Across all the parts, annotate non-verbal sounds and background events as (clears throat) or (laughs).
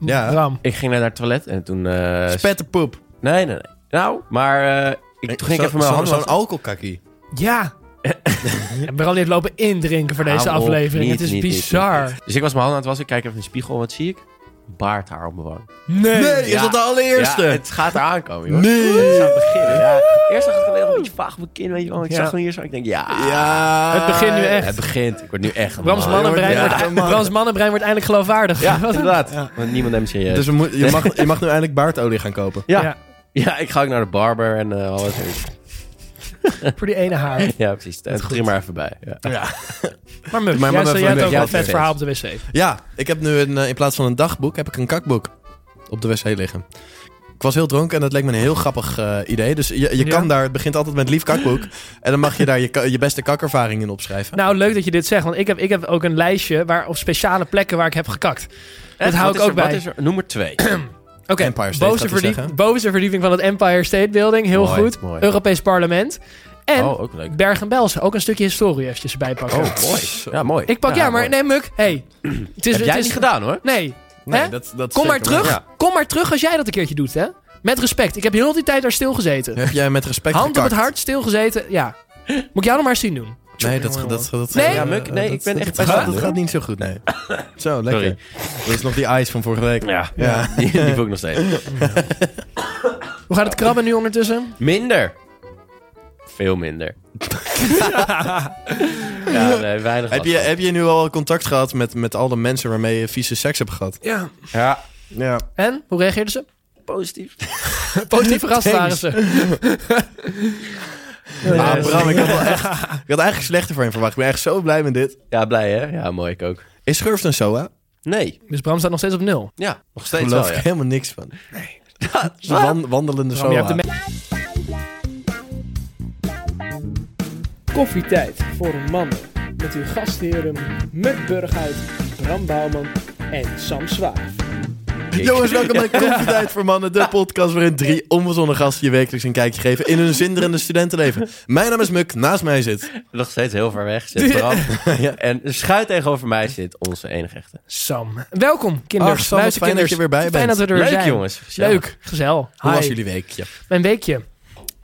Ja, Bram. ik ging naar het toilet en toen... eh, spetterpoep. Nee, nee, nee. Nou, maar eh, ik, toen ging ik even mijn handen... Zo'n wassen. alcoholkakkie. Ja. (laughs) En Bram heeft lopen indrinken voor deze Hou op, aflevering. niet, het is niet, niet, bizar. niet, niet. Dus ik was mijn handen aan het wassen, ik kijk even in de spiegel, wat zie ik? Baardhaar op mijn wang. Nee. Nee, is Ja. dat de allereerste? Ja, het gaat eraan komen, joh. Nee. Het is aan het beginnen, ja. Eerst dacht ik wel een beetje vaag op mijn kin, weet je wel. Ik Ja. zag gewoon hier zo, ik denk, ja. Ja. Het begint nu echt. Het begint, ik word nu echt een Brams man. mannenbrein, Ja, wordt, man. Brams mannenbrein wordt eindelijk geloofwaardig. Ja, (laughs) Wat- inderdaad. Ja. Want niemand neemt me serieus. Dus we moet- je, mag, je mag nu eindelijk baardolie gaan kopen. ja. Ja. Ja. ik ga ook naar de barber en eh alles. Voor die ene haar. Ja, precies. Het ging maar even bij. Ja. Maar Muf, Maar jij, Muf, zei- jij Muf, hebt ook jij wel een vet hebt verhaal op de wc. Ja, ik heb nu een, eh, in plaats van een dagboek, heb ik een kakboek op de wc liggen. Ik was heel dronken en dat leek me een heel grappig eh, idee. Dus je, je Ja. kan daar, het begint altijd met lief (laughs) kakboek. En dan mag je daar je, ka- je beste kakervaring in opschrijven. Nou, leuk dat je dit zegt. Want ik heb, ik heb ook een lijstje waar, op speciale plekken waar ik heb gekakt. Dat hou ik ook bij. nummer twee? (clears throat) Oké, Empire State bovenste, gaat hij verdiep- zeggen. bovenste verdieping van het Empire State Building. Heel Mooi, goed. mooi. Europees Parlement. En Oh, ook leuk. Bergen-Belsen. Ook een stukje historie eventjes erbij pakken. Oh, mooi. Ja, mooi. Ik pak, ja, maar mooi. nee, Muk. Hey, (clears throat) het is, Heb het jij is- niet gedaan, hoor. Nee. hè? Nee, dat, dat kom maar zeker wel. terug. ja. Kom maar terug als jij dat een keertje doet, hè? Met respect. Ik heb heel die tijd daar stilgezeten. Heb jij met respect Hand op het gekakt? hart, stilgezeten. Ja. Moet ik jou nog maar eens zien doen. Nee, dat, dat, dat, dat- Nee? eh, Ja, Muk, nee, dat- ik ben dat- echt dat best gaat, wel- dat gaat niet zo goed, (laughs) nee. Zo, lekker. Sorry. Dat is nog die ice van vorige week. Ja, Ja. Die, die voel ik nog steeds. Hoe gaat het krabben nu ondertussen? Minder. Veel minder. (laughs) ja, nee, weinig Heb last je, van. heb je nu al contact gehad met, met al de mensen waarmee je vieze seks hebt gehad? Ja. Ja, Ja. En? Hoe reageerden ze? positief. (laughs) Positief verrast waren ze. Ah, Bram, ik had, wel (laughs) echt, ik had eigenlijk slechter voor hem verwacht. Ik ben echt zo blij met dit. Ja, blij hè? Ja, mooi, ik ook. Is Schurft een SOA? Nee. Dus Bram staat nog steeds op nul. Ja, nog Daar steeds geloof wel, ik ja. helemaal niks van. Nee. Wan, wandelende Bram, je SOA. hebt de Koffietijd voor mannen. Met uw gastheren Muk Burghuis, Bram Bouwman en Sam Zwaar. (laughs) Jongens, welkom bij Koffietijd voor Mannen, de podcast waarin drie onbezonnen gasten je wekelijks een kijkje geven in hun zinderende studentenleven. Mijn naam is Muk, naast mij zit. Nog steeds heel ver weg zit (laughs) Bram. En schuin tegenover mij zit onze enige echte. Sam. Welkom, kinderen. Ach, Sam, wat Luister, fijn kinders. dat je weer bij Fijn bent. dat we er weer Leuk zijn. jongens. Gezellig. Leuk, gezel. Hoe Hi. was jullie weekje? Mijn weekje.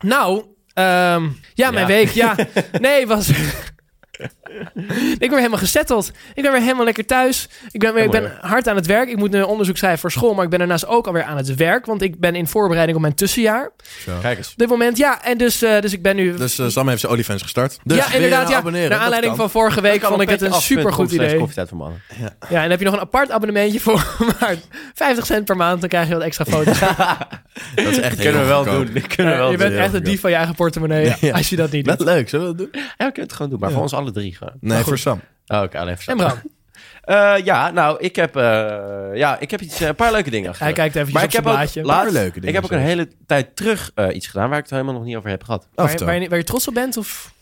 Nou, ehm, ja, mijn Ja. week, (laughs) ja. Nee, was... (laughs) ik ben weer helemaal gezetteld. Ik ben weer helemaal lekker thuis. Ik ben, weer- ik ben Helemaal hard aan het werk. Ik moet een onderzoek schrijven voor school, maar ik ben daarnaast ook alweer aan het werk, want ik ben in voorbereiding op mijn tussenjaar. Op Kijk eens. dit moment, ja. En dus, eh, dus ik ben nu... Dus eh, Sam heeft zijn OnlyFans gestart. Dus ja, inderdaad. Ja. Naar aanleiding van vorige week vond ik het een supergoed idee. Koffietijd voor mannen. Ja, en dan heb je nog een apart abonnementje voor (laughs) maar 50 cent per maand. Dan krijg je wat extra (laughs) foto's. Dat is echt kunnen we wel doen. (laughs) Dat kunnen we wel je bent doen. echt de dief van je eigen portemonnee (laughs) Ja. als je dat niet doet. Net leuk, zullen we dat doen? Ja, we kunnen het gewoon doen. Maar voor ons alle drie gewoon. Nee, voor Sam. Oh, oké, alleen voor En Bram, Eh, ja, nou, ik heb, eh, ja, ik heb iets, eh, een paar leuke dingen achter. hij kijkt even maar op ik zijn heb ook blaadje. laatst- Paar leuke dingen ik heb ook een zelfs. hele tijd terug eh, iets gedaan waar ik het helemaal nog niet over heb gehad. Waar, Af en toe. waar je, waar je trots op bent? Of...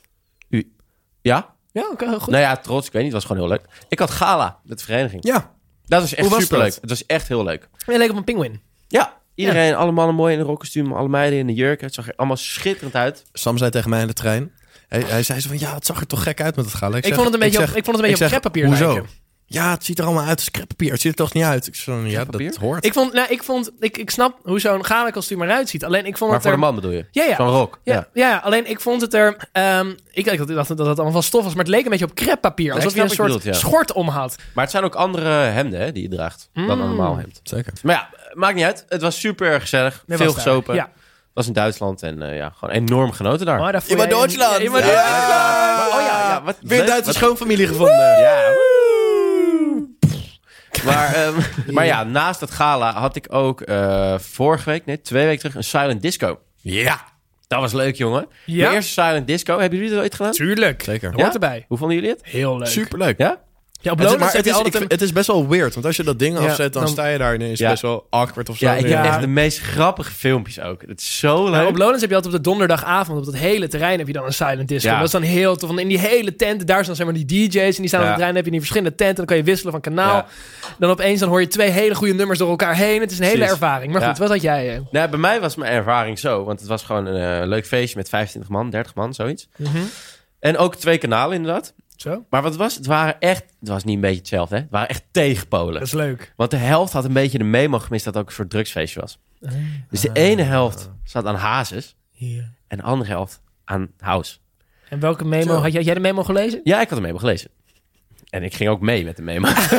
Ja? Ja, oké, heel goed. Nou ja, trots. Ik weet niet. Het was gewoon heel leuk. Ik had gala met de vereniging. Ja. Dat was echt Hoe was superleuk. dat? Het was echt heel leuk. Je leek op een pinguïn. Ja. Iedereen, alle mannen mooi in een rokkostuum, alle meiden in een jurk. Het zag er allemaal schitterend uit. Sam zei tegen mij in de trein. Hij, hij zei zo van, ja, het zag er toch gek uit met het gala. Ik, vond het een beetje, op, ik vond het een beetje op kreppapier Hoezo? lijken. Ja, het ziet er allemaal uit als kreppapier. Het ziet er toch niet uit? Ik zei, van, ja, dat Kreppapier? hoort. Ik, vond, nou, ik, vond, ik, ik snap hoe zo'n gala-kostuum eruit ziet. Alleen ik vond Maar het voor de er... man bedoel je? Ja, ja. Zo'n rok. Ja, ja. alleen ik vond het er... ehm, ik, ik dacht dat het allemaal van stof was, maar het leek een beetje op kreppapier. Alsof ik je snap een wat soort je bedoelt, ja. schort om had. Maar het zijn ook andere hemden hè, die je draagt dan Mm. een normaal hemd. Zeker. Maar ja, maakt niet uit. Het was super erg gezellig. Dat Veel was daar. gesopen. Ja. was in Duitsland en eh, ja, gewoon enorm genoten daar. Maar daar voel Iemand jij een- Duitsland. Ja, iemand Ja. Duitsland. Maar- oh ja, ja, wat Weer leuk, Duitse wat- schoonfamilie gevonden. Ja. Maar, (laughs) ehm, maar ja, naast dat gala had ik ook eh, vorige week, nee, twee weken terug, een silent disco. Ja. Dat was leuk, jongen. Ja. De eerste silent disco. Hebben jullie dat ooit gedaan? Tuurlijk. Zeker. Hoort Ja? erbij. Hoe vonden jullie het? Heel leuk. Superleuk. Ja? Ja, op Het is, Lowlands maar heb het je is, altijd ik een... vind- het is best wel weird, want als je dat ding Ja, afzet, dan, dan- sta je daar ineens Ja. best wel awkward of zo. Ja, ik Ja. echt de meest grappige filmpjes ook. Het is zo Maar op leuk. Lowlands heb je altijd op de donderdagavond op dat hele terrein heb je dan een silent disco. Ja. Dat is dan heel tof. Want in die hele tent, daar zijn zeg maar die DJ's en die staan op Ja. het terrein. Dan heb je die verschillende tenten, dan kan je wisselen van nou. kanaal. Ja. Dan opeens dan hoor je twee hele goede nummers door elkaar heen. Het is een hele Precies. ervaring. Maar Ja. goed, wat had jij? eh? Nou, bij mij was mijn ervaring zo. Want het was gewoon een eh, leuk feestje met 25 man, 30 man, zoiets. Mhm. En ook twee kanalen inderdaad. Zo? Maar wat het was, het waren echt... Het was niet een beetje hetzelfde, hè? Het waren echt tegenpolen. Dat is leuk. Want de helft had een beetje de memo gemist dat het ook een soort drugsfeestje was. Ah, Dus de ene helft zat aan hazes en de andere helft aan house. En welke memo had jij? Had jij de memo gelezen? Ja, ik had de memo gelezen. En ik ging ook mee met de memo. (laughs)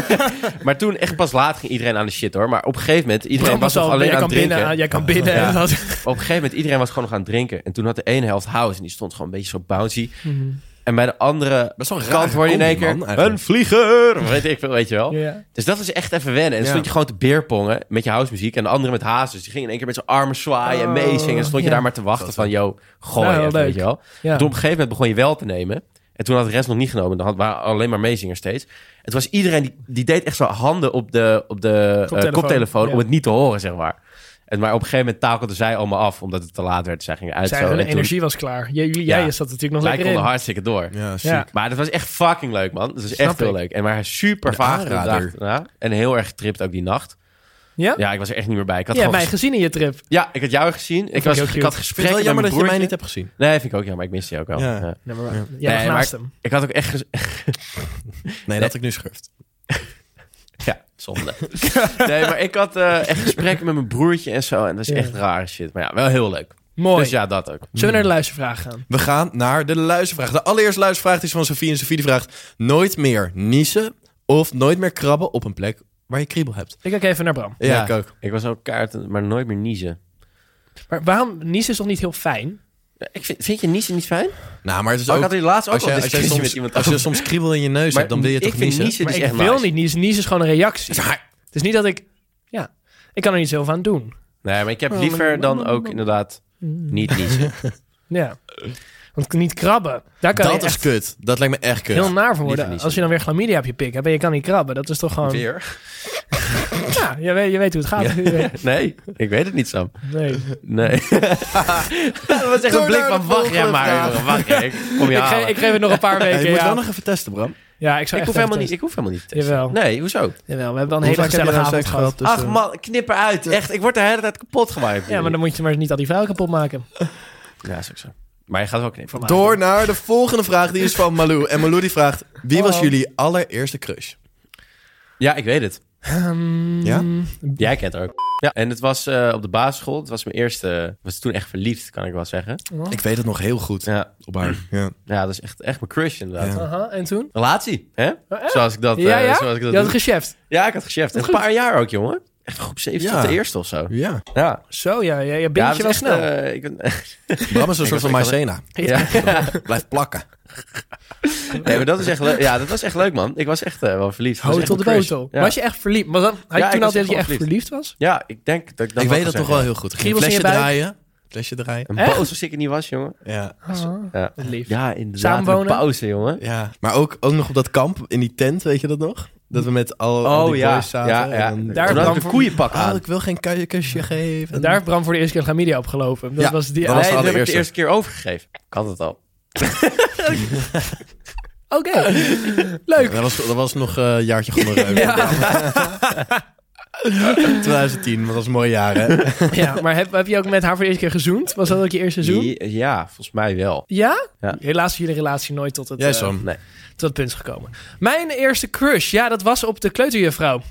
maar toen, echt pas laat, ging iedereen aan de shit hoor. Maar op een gegeven moment, iedereen was nog alleen jij aan kan het drinken. binnen. Jij kan binnen. Ja. en dat- Op een gegeven moment, iedereen was gewoon nog aan het drinken. En toen had de ene helft house en die stond gewoon een beetje zo bouncy. Mhm. En bij de andere Best wel een kant rare hoor je in één combi, keer man, eigenlijk. een vlieger. Of Weet ik veel, weet je wel. (laughs) Ja. Dus dat was echt even wennen. En dan Ja. stond je gewoon te beerpongen met je housemuziek. En de andere met hazes. Die gingen in één keer met zijn armen zwaaien en Oh, meezingen. En dan stond je ja. daar maar te wachten van, yo, gooi Nou, even, leuk. weet je wel. Ja. En Toen op een gegeven moment begon je wel te nemen. En toen had de rest nog niet genomen. Dan had, waren alleen maar meezingers steeds. Het was iedereen die, die deed echt zo handen op de, op de eh, Koptelefoon. koptelefoon, Ja. om het niet te horen, zeg maar. En, maar op een gegeven moment takelde zij allemaal af, omdat het te laat werd. Zij gingen uit. Zij, zo. hun en toen- energie was klaar. Jij, jij Ja. zat natuurlijk nog Wij lekker in. konden hartstikke door. Ja, ziek. Ja. Maar dat was echt fucking leuk, man. Dat was Snap echt heel ik. leuk. En maar super Een vaag de dag aanrader. daarna. En heel erg getript ook die nacht. Ja? Ja, ik was er echt niet meer bij. Ik had Je hebt gewoon mij ges- gezien in je trip. ja, ik had jou gezien. Ik, ik was, ook ik cute. had Ik vind het gesprekken wel met jammer mijn dat je mij broertje. niet hebt gezien. Nee, vind ik ook jammer. Ik miste je ook wel. Ja. Ja. Nee, maar, jij Nee, was maar naast hem. Ik had ook echt... ges- (laughs) Nee, dat had ik nu schurft. Ja, (laughs) zonde. nee, maar ik had eh, echt gesprekken met mijn broertje en zo. En dat is Ja. echt rare shit. Maar ja, wel heel leuk. Mooi. Dus ja, dat ook. Zullen we naar de luistervraag gaan? We gaan naar de luistervraag. De allereerste luistervraag die is van Sofie. En Sofie die vraagt: Nooit meer niezen of nooit meer krabben op een plek waar je kriebel hebt. Ik kijk even naar Bram. Ja, ik ook. Ik was ook kaart, maar nooit meer niezen. Maar waarom, Nies is toch niet heel fijn? Ik vind, vind je niezen niet fijn? Nou, maar het is Oh, ook. ik had hier laatst ook als, al een je, als, je discussie met soms, iemand als je over. soms kriebel in je neus hebt, dan wil je ik toch vind niezen. niezen Maar dus ik echt wil nice. niet niezen. Niezen is gewoon een reactie. Maar- Het is niet dat ik... Ja, ik kan er niet zoveel aan doen. Nee, maar ik heb liever dan ook inderdaad niet niezen. Ja. Want niet krabben. Daar kan Dat je is echt kut. Dat lijkt me echt kut. heel naar voor worden. niezen. Als je dan weer chlamydia op je pik hebt en je kan niet krabben. Dat is toch (laughs) gewoon... Weer? Ja, je weet, je weet hoe het (laughs) gaat. Nee, ik weet het niet, Sam. Nee. (laughs) Nee. dat was echt Door een blik naar de van wacht jij volgende maar, vraag. jongen, wacht jij. Ik Kom je Ik, halen. ge- ik geef het nog een paar Ja, je weken. moet ja. wel nog even testen, Bram. ja, ik zou Ik echt hoef helemaal even niet, ik hoef helemaal niet te testen. Jawel. Nee, hoezo? testen. Jawel, we hebben dan een hele gezellige avond gehad. dus, eh, Ach man, knip eruit. Echt, ik word de hele tijd kapot gemaakt. Ja, maar dan moet je maar niet al die vrouwen kapot maken. Ja, is ook zo. Maar je gaat wel knippen. Van mij. Door naar de volgende vraag, die is van Malou. En Malou die vraagt, wie was Oh. jullie allereerste crush? Ja, ik weet het. Ehm, Ja? Jij kent haar ook. Ja, en het was eh, op de basisschool. Het was mijn eerste... Ik was toen echt verliefd, kan ik wel zeggen. Ik weet het nog heel goed. Ja, Op haar. Ja. ja dat is echt, echt mijn crush inderdaad. Ja. Aha, en toen? Relatie, hè? ja. Zoals ik dat... eh, ja, ja? Zoals ik dat je had doe. het gescheft. ja, ik had gecheft. Een paar jaar ook, jongen. Echt groep 7 Ja. tot de eerste of zo. Ja. Ja. Zo, ja. ja, ja bind ja, dat je wel is snel. echt, eh, ik ben- Bram is een soort was- van ik had- Maizena. ja. Blijft plakken. Nee, maar dat is echt leuk. Ja, dat was echt leuk, man. Ik was echt eh, wel verliefd. Het was Hotel Oh, de echt mijn crush. botel. Ja. Was je echt verliefd? Was dat, had je Ja, ik toen was altijd echt dat je echt wel verliefd was? Ja, ik denk dat ik dat ik weet dat toch wel heel heel goed. Ging Kriebels in je flesje buik? draaien. Flesje draaien. Echt? Een boos als ik er niet was, jongen. Ja. Ja, Lief. ja inderdaad. Samenwonen? Een pauze, jongen. ja. Maar ook, ook nog op dat kamp, in die tent, weet je dat nog? Dat we met al, al die boys zaten. Oh, Ja, ja. En dan- Daar Toen had kwam ik een voor- koeienpak Ah, aan. ik wil geen ku- kusje geven. Daar heeft Bram voor de eerste keer chlamydia opgelopen. Dat Ja, was die... dat was nee, de dat heb ik allereerste. de eerste keer overgegeven. Ik had het al. Oké. (laughs) Leuk. Dat was, dat was nog eh, een jaartje gonoreu. (laughs) 2010, want dat was een mooi jaar, hè? Ja, maar heb, heb je ook met haar voor de eerste keer gezoend? Was dat ook je eerste seizoen? Ja, ja, volgens mij wel. Ja? Ja. Helaas is jullie relatie nooit tot het, Jij, eh, Sam. Nee. tot het punt is gekomen. Mijn eerste crush, ja, dat was op de kleuterjuffrouw.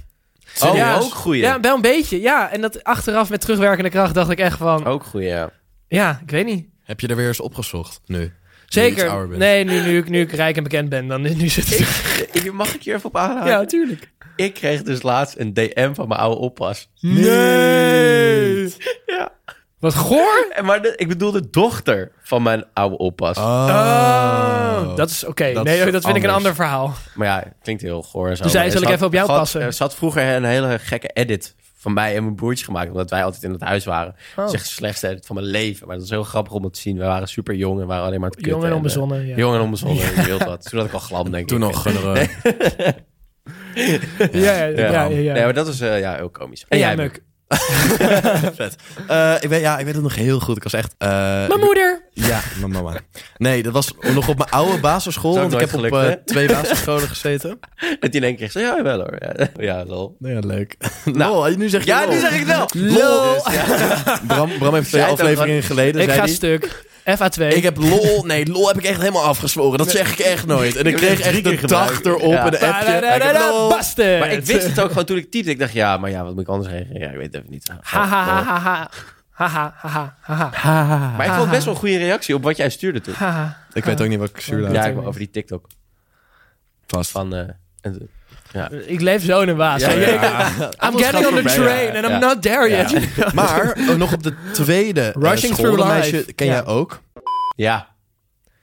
Oh, Ja, ook goeie. Ja, wel een beetje. Ja, en dat achteraf met terugwerkende kracht dacht ik echt van... Ook goeie, ja. Ja, ik weet niet. Heb je er weer eens opgezocht? Nu. iets ouder Zeker. bent. Nee, nu, nu, ik- nu ik rijk en bekend ben, dan nu zit (laughs) het... (laughs) Ik- Mag ik je even op aanhaken? Ja, tuurlijk. Ik kreeg dus laatst een DM van mijn oude oppas. Nee! (laughs) Ja. Wat goor. En (laughs) Maar de- ik bedoel de dochter van mijn oude oppas. Oh. Dat is oké. Dat Nee, is dat vind ik een anders. ander verhaal. Maar ja, het klinkt heel goor en zo. Toen zei Maar ze, er zal ik zat- even op jou er zat- passen? Er zat vroeger een hele gekke edit van mij en mijn broertje gemaakt. Omdat wij altijd in het huis waren. Oh. Dat is echt de slechtste edit van mijn leven. Maar dat is heel grappig om het te zien. We waren super jong en eh, waren alleen maar het Jong en onbezonnen, ja. (laughs) Jong en onbezonnen, je wilt wat. Toen had ik al glam, denk Toen ik. nog gonoreu. Ja, ja, ja. ja, ja. Nee, maar dat is eh, ja, heel komisch. En jij, Muk? (laughs) Vet. Eh, ik, weet, ja, ik weet het nog heel goed. Ik was echt... eh, Mijn moeder! Ja, mijn mama. Nee, dat was nog op mijn oude basisschool. Dat is Want ook ik heb nooit op gelukt, eh, twee basisscholen gezeten. Dat hij in één keer zegt, ja, wel hoor. Ja, (laughs) ja lol. Ja, leuk. Nou, nu zeg je Ja, lol. nu zeg ik wel. lol. Bram, Bram heeft twee Zei het ook afleveringen geleden. Ik zei Dus ga die, stuk. FA2. ik heb lol. Nee, lol heb ik echt helemaal afgesproken. Dat zeg ik echt nooit. En heb ik het kreeg echt drie keer de dag gebruikt. erop Ja. en een Da, da, appje. da, Ik heb da, lol. Bastard. Maar ik wist het ook gewoon toen ik typte. Ik dacht, ja, maar ja, wat moet ik anders reageren? Ja, ik weet het even niet. (laughs) Ha, ha, ha, Lol. ha, ha. Ha, ha, ha, ha, ha, ha. Maar ik vond best wel een goede reactie op wat jij stuurde toen. Ha, ha. Ik weet ook niet wat ik zuur Ja, daar ik wou over die TikTok. vast. Van, eh, en- Ik leef zo in een waas. Ja, I'm getting on the train and I'm Ja. not there yet. Maar eh, nog op de tweede eh, Rushing school, through dat life. meisje ken Ja. jij ook. ja.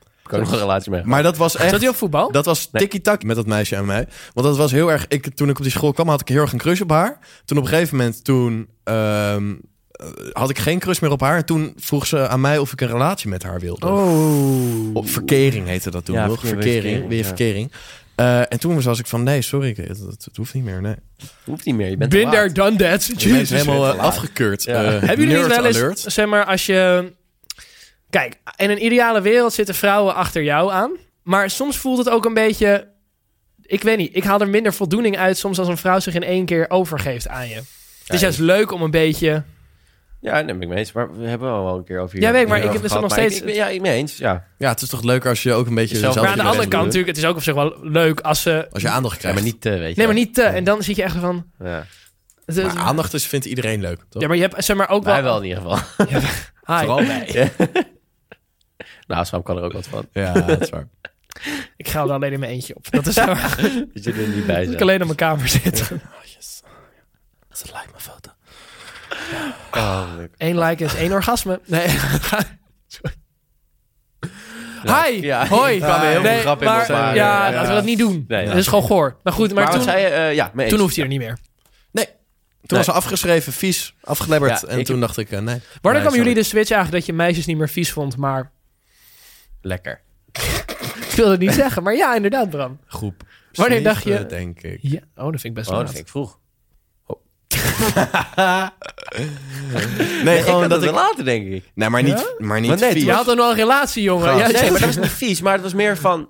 Ik heb ook nog een relatie mee. Maar dat was echt... Zat hij op voetbal? Dat was tikkie-tak met dat meisje en mij. Want dat was heel erg... Ik, toen ik op die school kwam, had ik heel erg een crush op haar. Toen op een gegeven moment, toen... ehm, eh, had ik geen crush meer op haar. En toen vroeg ze aan mij of ik een relatie met haar wilde. Oh. Op verkering heette dat toen. Ja, nog. verkering, verkering, verkering, weer ja. verkering. Eh, en toen was ik van, nee, sorry, ik- dat, dat hoeft niet meer, nee. Hoeft niet meer, je bent Been te laat. there, done that. Die mensen Jezus. helemaal eh, laat. afgekeurd. Ja. eh, Hebben jullie niet nerd wel eens, alert. zeg maar, als je... Kijk, in een ideale wereld zitten vrouwen achter jou aan. Maar soms voelt het ook een beetje... Ik weet niet, ik haal er minder voldoening uit soms als een vrouw zich in één keer overgeeft aan je. Het is Ja, juist leuk om een beetje... Ja, daar ben ik mee eens. Maar we hebben al wel een keer over hier. Ja, weet ik, maar ik hierover heb gehad, dus nog maar ik- steeds- ik ben- ja, ik ben mee eens. Ja. Ja, het is toch leuker als je ook een beetje... Jezelf- zelf Maar aan de in andere kant wedstrijd doet. natuurlijk, het is ook op zich wel leuk als ze... Als je aandacht ja, krijgt. maar niet te, weet je. Nee, maar niet te. En dan zit je echt van... Ja. Maar aandacht is, vindt iedereen leuk, toch? Ja, maar je hebt zeg maar ook wel... Wij wel in ieder geval. (laughs) Hi. Vooral wij. Nou, Sam kan er ook wat van. Ja, dat is waar. (laughs) Ik ga er alleen in mijn eentje op. Dat is waar. Dat je er niet bij dat ik bent. alleen op mijn kamer (laughs) zit. Oh, Dat is like mijn foto. Oh, leuk. Eén like is (laughs) één orgasme. Nee. (laughs) Sorry. Hi. Ja. Hoi. Er kwamen heel veel nee, grappen in maar, ons, maar, ja, eh, laten we dat niet doen. Nee, ja. Dat is gewoon goor. Maar goed, maar, Maar, toen, toen, zei je, eh, ja, mee eens. toen hoeft hij er niet meer. Nee. Toen was ze afgeschreven, vies, afgelebberd. Ja, en ik- toen dacht ik, eh, nee. Waar dan Nee, kwam sorry. jullie de switch eigenlijk dat je meisjes niet meer vies vond, maar... Lekker. Ik (laughs) wil het niet zeggen, maar ja, inderdaad, Bram. Groep. Wanneer dacht zeven, je- denk ik. Ja. Oh, dat vind ik best Oh, wel dat laat. vind ik vroeg. Oh. (laughs) Nee, ik gewoon had dat het ik... later, denk ik. Nee, maar niet, maar niet Maar nee, vies. Je had dan wel een relatie, jongen. Gast. Ja, Oh, Nee, ja, maar dat was niet vies. Maar het was meer van...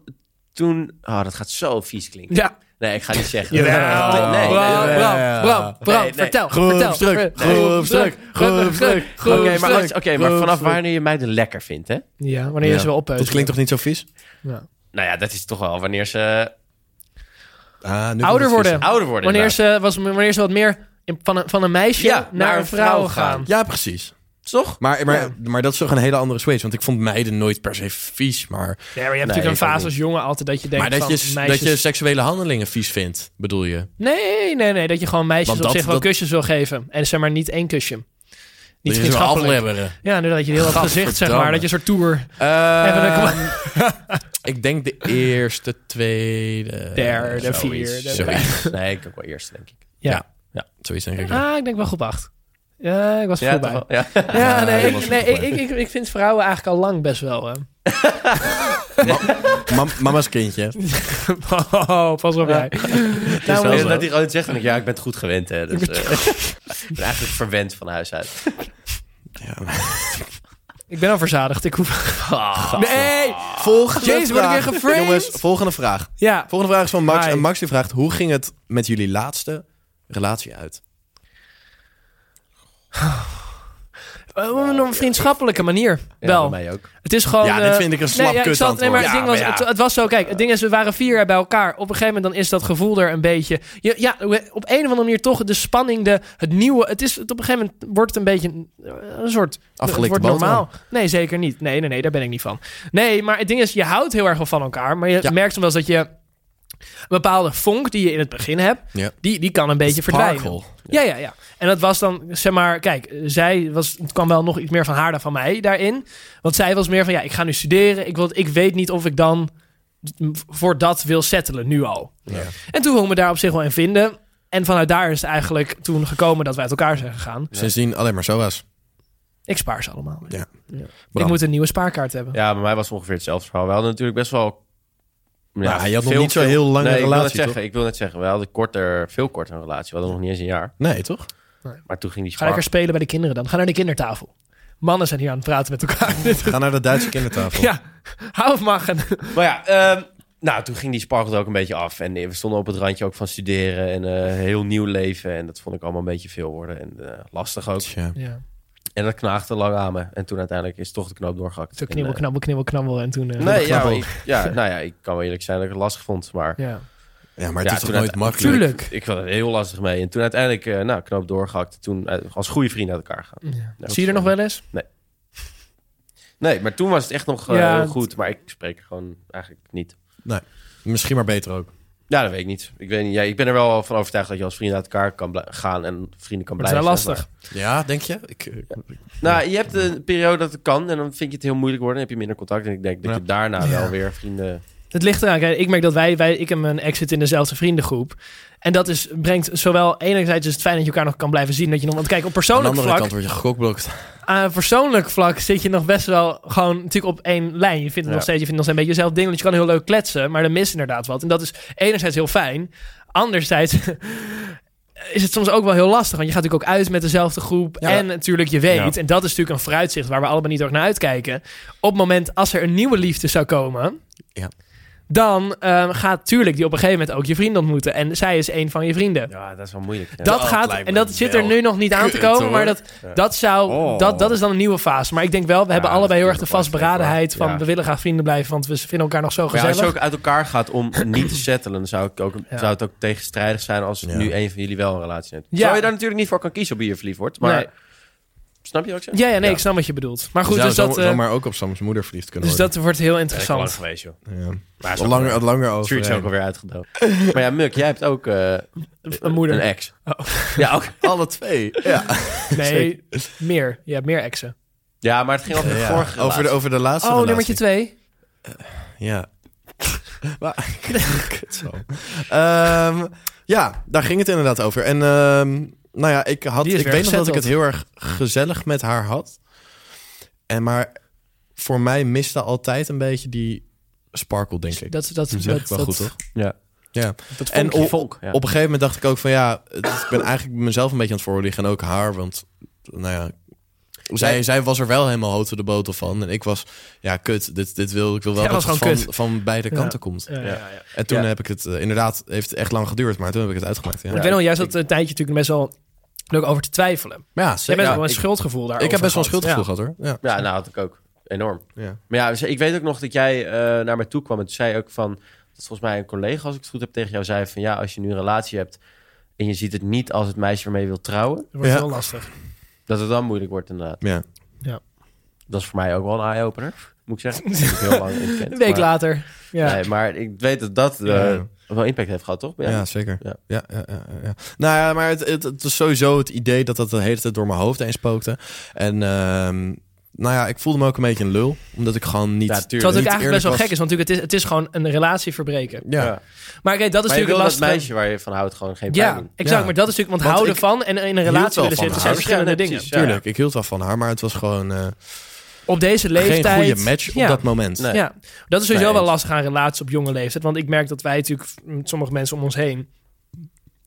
Toen... Oh, dat gaat zo vies klinken. ja. Nee, ik ga niet zeggen. Jawel. Nee, nee, nee, Bram, nee. Bram, Bram, Bram, Nee, nee. vertel, vertel. Groepsdruk, groepsdruk, groepsdruk, Oké, groepsdruk. maar, wacht, oké, maar vanaf Groepsdruk. wanneer je meiden lekker vindt, hè? Ja, wanneer je Ja. ze wel opheust. Dat klinkt toch niet zo vies? Nou ja, dat is toch wel wanneer ze Ah, nu wordt Ouder het worden. ouder worden. Wanneer inderdaad. ze, was, wanneer ze wat meer in- van, een, van een meisje Ja, naar, een vrouw, gaan. vies. Ja, precies. Toch? Maar, maar, maar dat is toch een hele andere switch. Want ik vond meiden nooit per se vies. Maar, Nee, maar je hebt Nee, natuurlijk een ik ook fase als jongen altijd dat je denkt maar dat, van je, meisjes... dat je seksuele handelingen vies vindt, bedoel je? Nee, nee, nee. Dat je gewoon meisjes Want op dat- zich wel dat- kusjes wil geven. En zeg maar niet één kusje. Dat Niet je ze wil vriendschappelijk. aflebberen. Ja, nu dat je heel dat gezicht, zeg maar. Gadverdamme. Dat je een soort tour... Even een- Eh, kom (laughs) ik denk de eerste, tweede... Derde, zoiets. vierde. Zoiets, (laughs) Nee, ik ook wel eerst, denk ik. Ja. zoiets denk ik. Ah, ik denk wel groep acht. Ja, ik was Ja, toch voorbij. wel. Ja. Ja, Ja, nee, helemaal ik, nee ik, supergoed. ik, ik, ik vind vrouwen eigenlijk al lang best wel... Hè. (laughs) Mam- mama's kindje. Oh, pas op jij. Nou, wel maar- zo. dat hij gewoon zegt, dan denk ik, ja, ik ben het goed gewend, hè. Dus, eh, (laughs) ik ben eigenlijk verwend van huis uit. ik ben al verzadigd. Ik hoef... Nee! Volgende Jezus, word ik vraag. weer geframed? Jongens, volgende vraag. Ja, Volgende vraag is van Max. Hi. En Max die vraagt, hoe ging het met jullie laatste relatie uit? Eh, op Nou, een vriendschappelijke manier. Ja, wel. bij mij ook. Het is gewoon. Ja, dit eh, vind ik een slap nee, ja, ik kut zal- nee, maar het ding antwoord. was, Ja, maar ja. het, het was zo. Kijk, het ding is, we waren vier jaar bij elkaar. Op een gegeven moment dan is dat gevoel er een beetje. Ja, ja we- op een of andere manier toch de spanning, de, het nieuwe. Het is, het, op een gegeven moment wordt het een beetje een, eh, een soort. Afgelikte het wordt boterham. normaal. Nee, zeker niet. Nee, nee, nee, daar ben ik niet van. Nee, maar het ding is, je houdt heel erg wel van elkaar. Maar je Ja. merkt soms wel eens dat je een bepaalde vonk die je in het begin hebt, Ja. die, die kan een beetje verdwijnen. Sparkle. Ja, ja, ja. En dat was dan, zeg maar, kijk, eh, zij was, het kwam wel nog iets meer van haar dan van mij daarin. Want zij was meer van, ja, ik ga nu studeren. Ik, wil, ik weet niet of ik dan voor dat wil settelen, nu al. Ja. En toen kon we daar op zich wel in vinden. En vanuit daar is het eigenlijk toen gekomen dat wij uit elkaar zijn gegaan. Sindsdien alleen maar soa's. Ik spaar ze allemaal. Ja. Ik moet een nieuwe spaarkaart hebben. Ja, bij mij was het ongeveer hetzelfde verhaal. We hadden natuurlijk best wel Nou, je had nog niet zo heel lange nee, Ik wil, net relatie, zeggen, ik wil net zeggen, we hadden korter, veel korter een relatie. We hadden nog niet eens een jaar. Nee, toch? Maar toen ging die Ga lekker zwart. spelen bij de kinderen dan. Ga naar de kindertafel. Mannen zijn hier aan het praten met elkaar. Dit- Ga naar de Duitse kindertafel. (laughs) ja, hou of mag. En, Maar ja, ehm, nou, toen ging die sparkelt ook een beetje af. En eh, we stonden op het randje ook van studeren en eh, heel nieuw leven. En dat vond ik allemaal een beetje veel worden. En eh, lastig ook. Tja. ja, En dat knaagde lang aan me. En toen uiteindelijk is toch de knoop doorgehakt. zo En, knibbel, eh, knabbel, knibbel, knabbel. En toen... eh, Nee, ja, knabbel. ik, ja, nou ja, ik kan wel eerlijk zijn dat ik het lastig vond. Maar ja. Ja, maar het Ja, is toch toen nooit uit- makkelijk? Tuurlijk. ik vond het heel lastig mee. En toen uiteindelijk, eh, nou, knoop doorgehakt. Toen eh, als goede vrienden uit elkaar gaan. Ja. Nou, Zie je er nog eh, wel eens? Nee, maar toen was het echt nog eh, Ja, heel het- goed. Maar ik spreek er gewoon eigenlijk niet. Misschien maar beter ook. Ja, dat weet ik niet. Ik, weet niet. Ja, ik ben er wel van overtuigd dat je als vrienden uit elkaar kan blij- gaan en vrienden kan Dat is blijven. wel lastig. Ja, denk je? Ik, eh, Maar- nou, je hebt een periode dat het kan en dan vind je het heel moeilijk worden. Dan heb je minder contact en ik denk dat Ja. je daarna Ja. wel weer vrienden... Het ligt eraan. Kijk, ik merk dat wij, wij, ik en mijn ex zitten in dezelfde vriendengroep. En dat is, brengt zowel enerzijds is het fijn dat je elkaar nog kan blijven zien. Dat je nog, want kijk, op aan de persoonlijk andere vlak, kant word je gekokblokt. aan persoonlijk vlak zit je nog best wel gewoon natuurlijk op één lijn. Je vindt het Ja. nog steeds, je vindt nog steeds een beetje jezelf ding. Want je kan heel leuk kletsen, maar er mist inderdaad wat. En dat is enerzijds heel fijn. Anderzijds (laughs) is het soms ook wel heel lastig. Want je gaat natuurlijk ook uit met dezelfde groep. Ja. En natuurlijk je weet, Ja. en dat is natuurlijk een vooruitzicht waar we allemaal niet erg naar uitkijken. Op het moment als er een nieuwe liefde zou komen... Ja. Dan ehm, gaat tuurlijk die op een gegeven moment ook je vrienden ontmoeten. En zij is een van je vrienden. Ja, dat is wel moeilijk. Ja. Dat Dat gaat, lijkt en me dat zit er wel nu nog niet aan (laughs) te kut, komen, hoor. maar dat, Ja. dat, zou, Oh. dat, dat is dan een nieuwe fase. Maar ik denk wel, we hebben dat allebei heel erg de klinkt wel vastberadenheid sterk, van hoor. Ja. we willen graag vrienden blijven, want we vinden elkaar nog zo Maar ja, als gezellig. je ook uit elkaar gaat (clears throat) om niet te settelen, dan zou, ik ook, zou het ook tegenstrijdig zijn als Ja. nu een van jullie wel een relatie heeft. Ja. Zou je daar natuurlijk niet voor kan kiezen op wie je verliefd wordt, maar... Nee. Snap je wat ik zeg? ja, ja, nee, Ja. ik snap wat je bedoelt. Maar goed, Zou dus dat, zo- eh, zomaar ook op Sam's moeder verliefd kunnen dus worden. dat wordt heel Ja, dat is lang interessant. geweest, joh. Ja. Maar is Al ook- langer, al langer over. Stuart is ook alweer uitgedoofd. maar ja, Muk, jij hebt ook eh, Een moeder. Oh. een ex. Ja, ook alle twee. Ja. Nee, meer. Je hebt meer exen. Ja, maar het ging over de Ja, vorige over, de, relatie. over de laatste Oh, relatie. nummertje twee. Ja. (laughs) Maar- (laughs) Kut zo. Ehm, ja, daar ging het inderdaad over. En ehm, nou ja, ik, had, Die is ik weer weet nog dat ik het gezetteld. heel erg gezellig met haar had. En maar voor mij miste altijd een beetje die sparkle, denk ik. Dus Dat, dat, Dat zeg ik dat, wel dat, goed, toch? Ja. Ja. Dat En vonkje. op- Vonk, ja. Op een gegeven moment dacht ik ook van ja, het- ik ben eigenlijk mezelf een beetje aan het voorliegen en ook haar, want nou ja, zij, Nee. zij was er wel helemaal hoog de botel van en ik was ja kut, dit, dit wil ik wil wel Ja, dat was het gewoon van, van beide kanten komt. Ja, ja, ja. En toen Ja. heb ik het eh, inderdaad heeft het echt lang geduurd, maar toen heb ik het uitgemaakt. Ja, Ik weet nog, jij zat een tijdje natuurlijk best wel leuk over te twijfelen. maar ja, Jij zeker. bent Ja, wel een ik, schuldgevoel daar. ik heb best wel een schuldgevoel gehad hoor. Ja. Ja, nou had ik ook. Enorm. Ja. Maar ja, dus ik weet ook nog dat jij eh, naar mij toe kwam. En toen zei je ook van... Dat volgens mij een collega, als ik het goed heb, tegen jou zei van... Ja, als je nu een relatie hebt en je ziet het niet als het meisje waarmee je wilt trouwen... Dat wordt Ja. heel lastig. Dat het dan moeilijk wordt inderdaad. Ja. Dat is voor mij ook wel een eye-opener, moet ik zeggen. Dat heb ik heel lang in gekend, Een (laughs) week maar- later. Ja. Nee, maar ik weet dat dat eh, Ja. wel impact heeft gehad, toch? Ja, zeker. Ja. Ja. Ja, ja, ja, ja. Nou ja, maar het, het, het was sowieso het idee dat dat de hele tijd door mijn hoofd heen spookte. En ehm, nou ja, ik voelde me ook een beetje een lul, omdat ik gewoon niet. Ja, Ja, tuurlijk. Terwijl het ook eigenlijk niet best wel eerlijk gek is, want natuurlijk het is, het is gewoon een relatie verbreken. Ja. ja. Maar kijk, dat is Maar je wil dat natuurlijk lastig. meisje waar je van houdt gewoon geen pijn Ja, doen. exact. Ja. Maar dat is natuurlijk, want, Want houden ik van en in een hield relatie wel willen van zitten haar. zijn verschillende Ja, nee, dingen. precies. Tuurlijk, ik hield wel van haar, maar het was gewoon eh, Op deze geen leeftijd. goede match ja. op dat moment. Nee. Ja, dat is sowieso Nee, wel eens. lastig aan relaties op jonge leeftijd. Want ik merk dat wij natuurlijk met sommige mensen om ons heen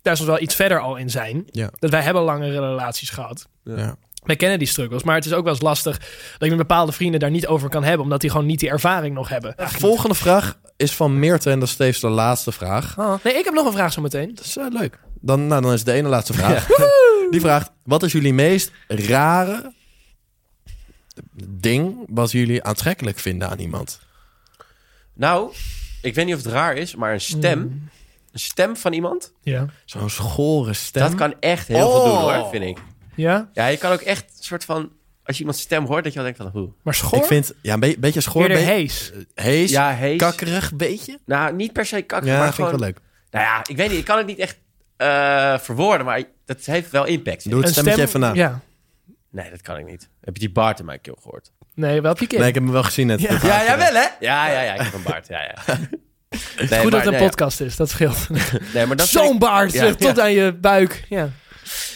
daar soms wel iets verder al in zijn. Ja. Dat wij hebben langere relaties gehad. Ja. Wij kennen die struggles, maar het is ook wel eens lastig dat je met bepaalde vrienden daar niet over kan hebben, omdat die gewoon niet die ervaring nog hebben. Volgende vraag is van Meerte en dat is steeds de laatste vraag. Oh, Nee, ik heb nog een vraag zo meteen. Dat is eh, leuk. Dan, nou, dan is het de ene laatste vraag. (laughs) Die vraagt, wat is jullie meest rare ding wat jullie aantrekkelijk vinden aan iemand? Nou, ik weet niet of het raar is, maar een stem... Mm. Een stem van iemand, Ja. Zo'n schore stem. dat kan echt heel veel doen hoor, vind ik. Ja? Ja, je kan ook echt een soort van... Als je iemand stem hoort, dat je al denkt van... Hoe? Maar schor? Ik vind, ja, een be- beetje schor. Eerder be- eh, hees. hees, Ja, hees. kakkerig, beetje. Nou, niet per se kakker, Ja, maar vind gewoon... ik wel leuk. Nou ja, ik weet niet, ik kan het niet echt eh, verwoorden, maar dat heeft wel impact. Doe het stemmetje even na. Ja. Nee, dat kan ik niet. Heb je die baard in mijn keel gehoord? Nee, wel piqué. Nee, ik heb hem wel gezien net. Ja. Ja, jawel hè? Ja, ja, ja, ik heb een baard, ja, (laughs) ja. Nee, Goed dat maar- het een nee, podcast is, dat scheelt. Nee, maar (laughs) dat vind Zo'n ik- baard Ja. eh, tot aan je buik. Ja. Gaat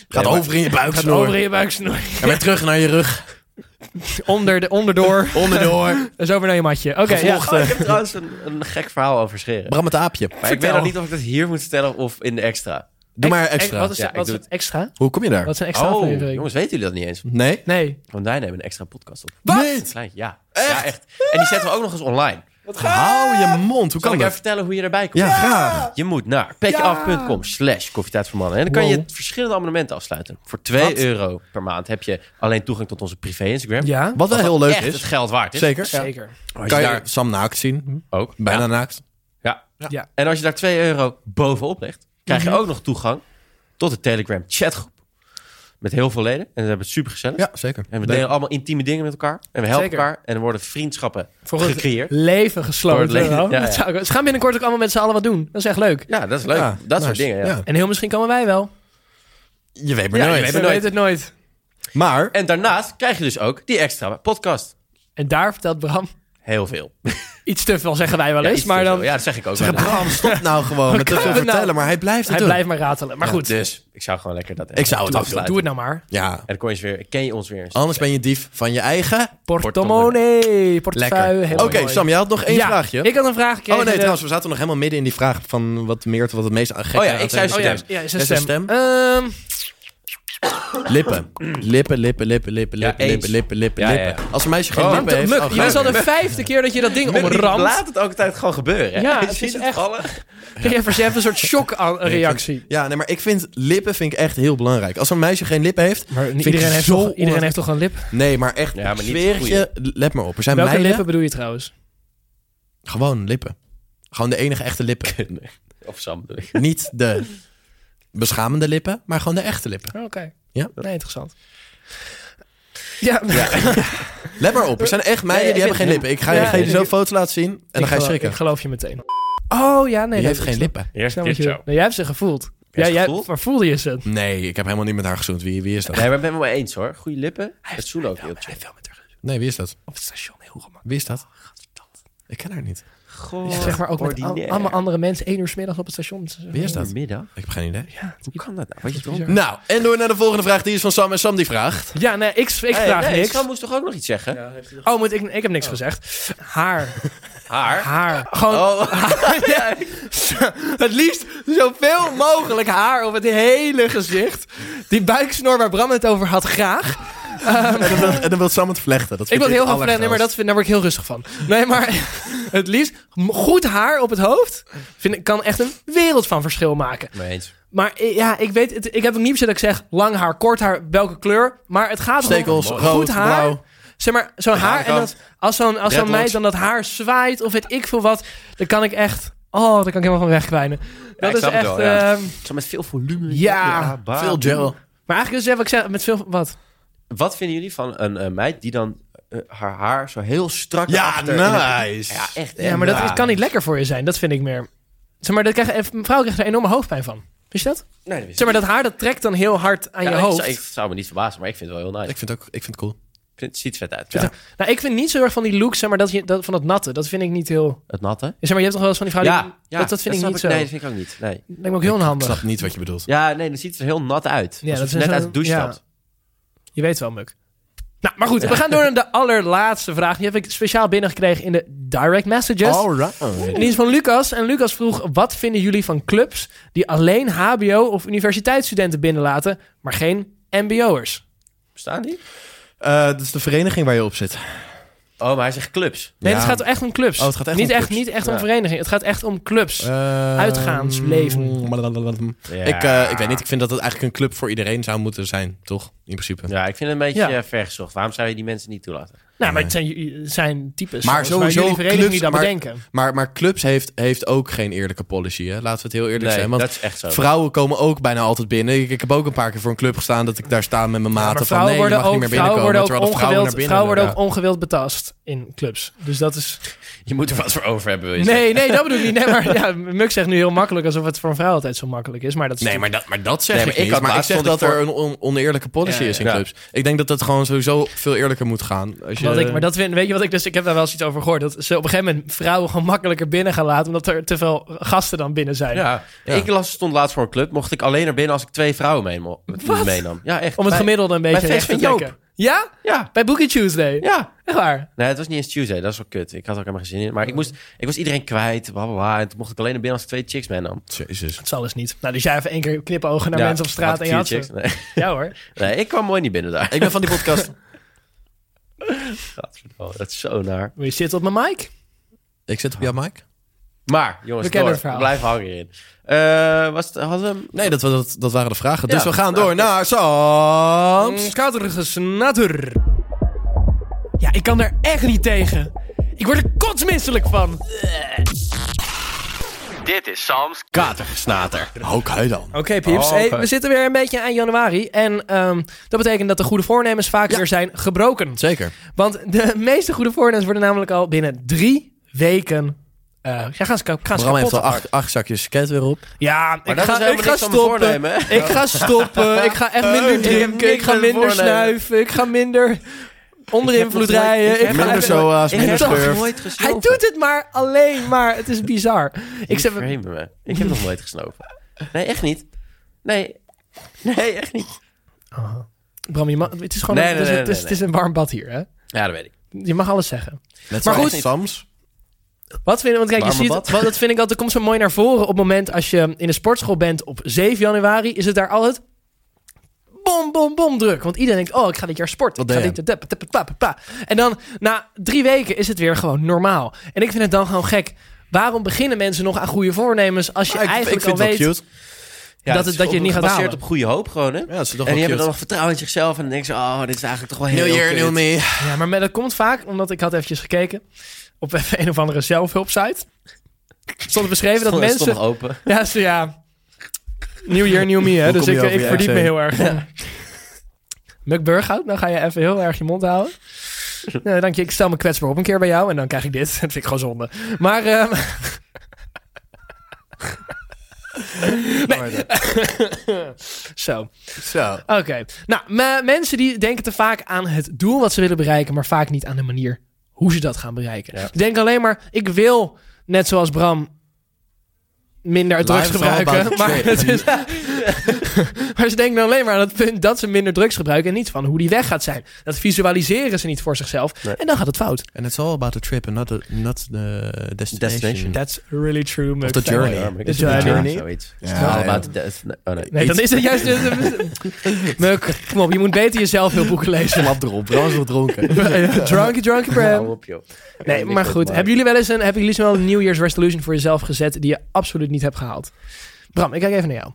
Nee, maar- over in je buik Gaat over in je buiksnoer. En weer terug naar je rug. (laughs) Onder de, onderdoor. Onderdoor. Dus over naar je matje. Oké, ja. Gevlochten. Oh, ik heb trouwens een, een gek verhaal over scheren. Bram het aapje. Maar ik weet nog niet of ik dat hier moet vertellen of in de extra. Doe maar Ex- extra. Wat is, Ja, ik wat is doe het extra? Hoe kom je daar? Wat is een extra oh, aflevering? jongens, weten jullie dat niet eens? Nee? Nee. Want wij nemen een extra podcast op. Wat? Klein, ja. Echt? Ja, echt. En die zetten we ook nog eens online. Hou je mond. Kan Hoe kan ik even dat? vertellen hoe je erbij komt? Ja, graag. Je moet naar petjeaf.com slash koffietijd voor mannen. En dan kan je verschillende abonnementen afsluiten. Voor 2 euro per maand heb je alleen toegang tot onze privé Instagram. Ja? Wat wel heel leuk Echt het is. geld waard is. Zeker. Ja. Zeker. Als Kan je Oh, Hm? daar Sam naakt zien? ook. Bijna Ja. naakt. Ja. Ja. En als je daar 2 euro bovenop legt, krijg Mhm. je ook nog toegang tot de Telegram chatgroep. Met heel veel leden. En dat hebben we super gezellig. Ja, zeker. En we Leuk. delen allemaal intieme dingen met elkaar. En we helpen Zeker. elkaar. En er worden vriendschappen Voor het gecreëerd. leven gesloten. Voor het leven, hoor. ja, Dat ja. zou ik- Ze gaan binnenkort ook allemaal met z'n allen wat doen. Dat is echt leuk. Ja, dat is leuk. Ja, dat soort nice. dingen. Ja. Ja. En heel misschien komen wij wel. Je weet maar Ja, je nooit. weet We nooit. weten het nooit. Maar En daarnaast krijg je dus ook die extra podcast. En daar vertelt Bram Heel veel. iets te veel, zeggen wij wel Ja, eens. iets maar te veel. dan, Ja, dat zeg ik ook. Zeg, wel. Bram, (laughs) stop nou gewoon met dat kunnen veel we nou? vertellen. Maar hij blijft het hij doen. blijft maar ratelen. Maar goed, Dus ik zou gewoon lekker dat Ik zou het Doe afsluiten. doe het nou maar. Ja. En dan kon je eens weer, ken je ons weer eens. Anders ben je dief van je eigen. Portemonnee, portefeuille. Lekker. Oké, helemaal mooi. Sam, jij had nog één Ja, vraagje. ik had een eh, vraag Oh gekregen. nee, de- trouwens, we zaten nog helemaal midden in die vraag van wat Meert, wat het meest gekke Oh ja, aan ik het zei hele- Ja, stem. ja, is een Is een stem. stem? Ehm, Lippen. Lippen, lippen, lippen, lippen, Ja, lippen, lippen, eens. lippen, lippen, Ja, ja, ja. lippen. Als een meisje geen Oh, lippen heeft... Muk, oh, je was gelukkig. al de vijfde keer dat je dat ding Muggy, omramt. Laat het ook tijd gewoon gebeuren. hè? Ja, Je het ziet is het echt- vallen. Kreeg je even zelf een soort shock-reactie. Ja, nee, maar ik vind lippen vind ik echt heel belangrijk. Als een meisje geen lippen heeft... Maar vind ik iedereen, heeft zo toch, iedereen onaangenaam. heeft toch een lip? Nee, maar echt, Ja, maar niet zweer goeie. je, let maar op. Er zijn Welke meiden, lippen bedoel je trouwens? gewoon lippen. Gewoon de enige echte (laughs) lippen. Of Sam, bedoel ik. Niet de beschamende lippen, maar gewoon de echte lippen. Oh, Oké. Ja. Nee, interessant. (laughs) Ja, ik Let maar op, er zijn echt meiden die ik hebben geen lippen. Ik ga, je- Ja, ga je ik- zo foto's laten zien en dan ga je geloof- schrikken. Ik geloof je meteen. Oh ja, nee. je dat- heeft ik geen snap- lippen. ik Eerst snap wat je- Nee, jij hebt ze gevoeld. Ja, ze jij, gevoeld? maar voelde je ze? Nee, ik heb helemaal niet met haar gezoend. Wie, wie Eh. is dat? Nee, maar ik ben het wel eens hoor. Goede lippen. Het zoenen ook heel chill. veel met haar Nee, wie is dat? op het station heel gemakkelijk. Wie is dat? Ik ken haar niet. Goh, zeg maar ook met al- allemaal andere mensen één uur 's middags op het station. Wie is dat? Middag. Ik heb geen idee. Ja, Hoe kan dat nou? Wat je bizar. dronken? Nou, en door naar de volgende vraag. Die is van Sam. En Sam die vraagt... ja nee, ik, ik Hey, vraag nee, niks. Sam moest toch ook nog iets zeggen? Oh, moet ik, ik heb niks gezegd. Haar. Haar. Haar. Gewoon Oh, (laughs) Ja. het liefst zoveel mogelijk haar op het hele gezicht. Die buiksnor waar Bram het over had, graag. En dan, wil- en dan wil Sam het vlechten. Dat Ik vind wil heel het graag plannen, maar allergrootst. dat vind, daar word ik heel rustig van. Nee, maar (laughs) het liefst m- goed haar op het hoofd vind, ik- kan echt een wereld van verschil maken. mee eens. Maar i- ja, ik weet, het, ik heb ook niet per se dat ik zeg lang haar, kort haar, welke kleur. Maar het gaat om Stekels, rood, goed haar. blauw. Zeg maar, zo'n haar. En haarkant. dat, als zo'n als zo'n Dreadlocks. meid dan dat haar zwaait of weet ik veel wat, dan kan ik echt. Oh, daar kan ik helemaal van wegkwijnen. Dat ik is snap het echt. wel, ja. ehm, Zo met veel volume. Ja, baar. Veel gel. maar eigenlijk is het wat ik zeg met veel. Wat? Wat vinden jullie van een eh, meid die dan eh, haar haar zo heel strak Ja, achter in een- nice. Ja, echt. hè? Ja, maar dat is- kan niet lekker voor je zijn. Dat vind ik meer. Zeg maar, dat krijg, een vrouw krijgt er enorme hoofdpijn van. Wist je dat? Nee, dat wist Zeg maar, dat haar dat trekt dan heel hard aan Ja, je ik- hoofd. Ik, zou me niet verbazen, maar ik vind het wel heel nice. Ik vind het ook ik vind het cool. Ik vind- het ziet vet uit. Ja. Nou, ik vind niet zo erg van die look, zeg maar, dat je, dat, van dat natte. Dat vind ik niet heel... Het natte. Zeg maar, je hebt toch wel eens van die vrouw die... dat, dat vind ik snap niet zo. Nee, dat vind ik ook niet. Nee. Lijkt me ook heel Ik onhandig. snap niet wat je bedoelt. Ja, nee, dat ziet er heel nat uit. Ja, Ja, dat dat is net zo- uit de douche ja. stapt. Je weet wel, Muk. Nou, maar goed, we gaan door naar de allerlaatste vraag. Die heb ik speciaal binnengekregen in de direct messages. En die is van Lucas. En Lucas vroeg, wat vinden jullie van clubs die alleen hbo- of universiteitsstudenten binnenlaten, maar geen mbo'ers? Bestaan die? Eh, dat is de vereniging waar je op zit. Oh, maar hij zegt clubs. Nee, Ja. het gaat echt om clubs. Oh, het gaat echt niet, om echt, clubs. niet echt Ja. om verenigingen. Het gaat echt om clubs. Eh, Uitgaansleven. blablabla. Ik, eh, ik weet niet, ik vind dat het eigenlijk een club voor iedereen zou moeten zijn, toch? In principe. Ja, ik vind het een beetje Ja. eh, vergezocht. Waarom zou je die mensen niet toelaten? nou, maar het zijn, het zijn types. Maar zoals waar sowieso jullie vereniging clubs, die dat maar- Ah, bedenken. Maar, maar clubs heeft, heeft ook geen eerlijke policy, hè? Laten we het heel eerlijk Nee, zijn. Want dat is echt zo. vrouwen komen ook bijna altijd binnen. Ik, ik heb ook een paar keer voor een club gestaan dat ik daar sta met mijn Ja, maar maten van... nee, vrouwen je worden mag niet ook- meer vrouwen binnenkomen, worden ook terwijl de vrouwen naar ongewild- binnen vrouwen worden willen. ook ongewild betast in clubs. Dus dat is... Je moet er wat voor over hebben, wil je zeggen. Nee, nee, dat bedoel ik niet. Nee, maar ja, Muk zegt nu heel makkelijk alsof het voor een vrouw altijd zo makkelijk is. Maar dat is Nee, maar dat, maar dat zeg Nee, ik maar ik niet. had maar ik laatst zeg stond dat ik er een on- oneerlijke policy Ja, is in ja. clubs. Ik denk dat dat gewoon sowieso veel eerlijker moet gaan. Als je, Wat ik, maar dat vind, weet je wat ik dus, ik heb daar wel eens iets over gehoord. Dat ze op een gegeven moment vrouwen gewoon makkelijker binnen gaan laten. Omdat er te veel gasten dan binnen zijn. Ja. Ik las, stond laatst voor een club. Mocht ik alleen naar binnen als ik twee vrouwen mee, mo- meenam. Ja, echt. Om het Bij- gemiddelde een beetje feest recht te van Joop. trekken. Ja? Ja, Bij Bookie Tuesday. ja. Echt waar. Nee, het was niet eens Tuesday. Dat is wel kut. Ik had er ook helemaal geen zin in. Maar ik, moest, ik was iedereen kwijt. Bla, bla, bla. En toen mocht ik alleen naar binnen als ik twee chicks meenam. Jezus. Het zal dus niet. Nou, dus jij even één keer knipogen naar Ja, mensen op straat had en ik je had vier ze. chicks. Ja hoor. Nee. (laughs) nee, ik kwam mooi niet binnen daar. Ik ben van die podcast. (laughs) Gadverdamme, dat is zo naar. Wil je zitten op mijn mic? ik zit op jouw mic. Maar, jongens, We kennen door. het verhaal. Blijf hangen hierin. Eh, was het, hadden we hem- Nee, dat, wa- dat, dat waren de vragen. Dus Ja. we gaan door naar Mm, Sam. Schatergesnatter. Ja, ik kan daar echt niet tegen. Ik word er kotsmisselijk van. Ook hij dan. Oké, Pieps. Oh, Oké. Hey, we zitten weer een beetje aan januari. En ehm, dat betekent dat de goede voornemens vaak weer zijn gebroken. Zeker. Want de meeste goede voornemens worden namelijk al binnen drie weken. eh, ja, gaan ze, ka- gaan ze Bram kapot. heeft al acht, acht zakjes skate weer op. Ja, ik dat is ga, helemaal ik ga niks aan mijn stoppen. voornemen, hè? Ik ga (laughs) stoppen. Ik ga echt minder ik heb drinken. Ik niks ga aan mijn minder voornemen. snuiven. Ik ga minder onder invloed nog nooit- rijden. ik Ik heb eh, ga Minder even- zoa's, Ik minder heb nog smurf. nooit Hij gesnoven. doet het maar alleen maar. Het is bizar. Ik Ik, zeg, frame me. ik heb nog nooit gesnoven. Nee, echt niet. Nee, nee echt niet. Bram, je mag, het is gewoon Nee, het, is, nee, nee, het, is, nee, het is een warm bad hier, hè? Ja, dat weet ik. Je mag alles zeggen. Net Maar zoals goed. Sams. Wat vind je, want kijk, je Warme ziet, bad. wat, dat vind ik altijd, komt zo mooi naar voren op het moment als je in de sportschool bent op 7 januari, is het daar altijd bom, bom, bom druk. Want iedereen denkt, oh, ik ga dit jaar sporten. Wat Ik ga deed dit, dat, dat, dat, dat, dat, dat. En dan na drie weken is het weer gewoon normaal. En ik vind het dan gewoon gek. Waarom beginnen mensen nog aan goede voornemens als je Ah, ik, ik eigenlijk vind het al wel weet... cute. Dat het- dat je het niet gaat gebaseerd halen. op goede hoop gewoon, hè? Ja, dat is toch en die wel hebben dan cute. nog vertrouwen in zichzelf en dan denken ze, oh, dit is eigenlijk toch wel heel New year, kut. new me. Ja, maar dat komt vaak omdat ik had eventjes gekeken op (laughs) even een of andere zelfhulpsite. Stond beschreven dat Stond- mensen... stond nog open. Ja, zo ja. New year, new me, hè. Hoe dus kom ik, je over ik je verdiep me accent? heel erg. Ja. Muk Burghout, nou ga je even heel erg je mond houden. (laughs) Nou, dank je. Ik stel me kwetsbaar op een keer bij jou en dan krijg ik dit. (laughs) Dat vind ik gewoon zonde. Maar, ehm, (laughs) zo. (laughs) Zo. Oké. Nou, me- mensen die denken te vaak aan het doel wat ze willen bereiken, maar vaak niet aan de manier hoe ze dat gaan bereiken. Ja. Ik denk alleen maar, ik wil, net zoals Bram, minder drugs Life is all gebruiken. about the Maar, het is, (laughs) maar ze denken alleen maar aan het punt dat ze minder drugs gebruiken en niet van hoe die weg gaat zijn. Dat visualiseren ze niet voor zichzelf. Nee. En dan gaat het fout. And it's all about the trip and not the, not the destination. Destination. That's really true. the journey. Ja, maar ik The weet het niet. journey. Ja, zoiets. Ja, It's all ja. about the death. Oh, nee. Nee, dan is het juist... (laughs) Muk, kom op, je moet beter jezelf heel boeken (laughs) lezen. Slap erop. Bram is wel dronken. Drunky, drunky, Bram. Hou op, joh. Nee, maar goed. Hebben jullie wel eens een, hebben jullie wel een New Year's resolution voor jezelf gezet die je absoluut niet hebt gehaald? Bram, ik kijk even naar jou.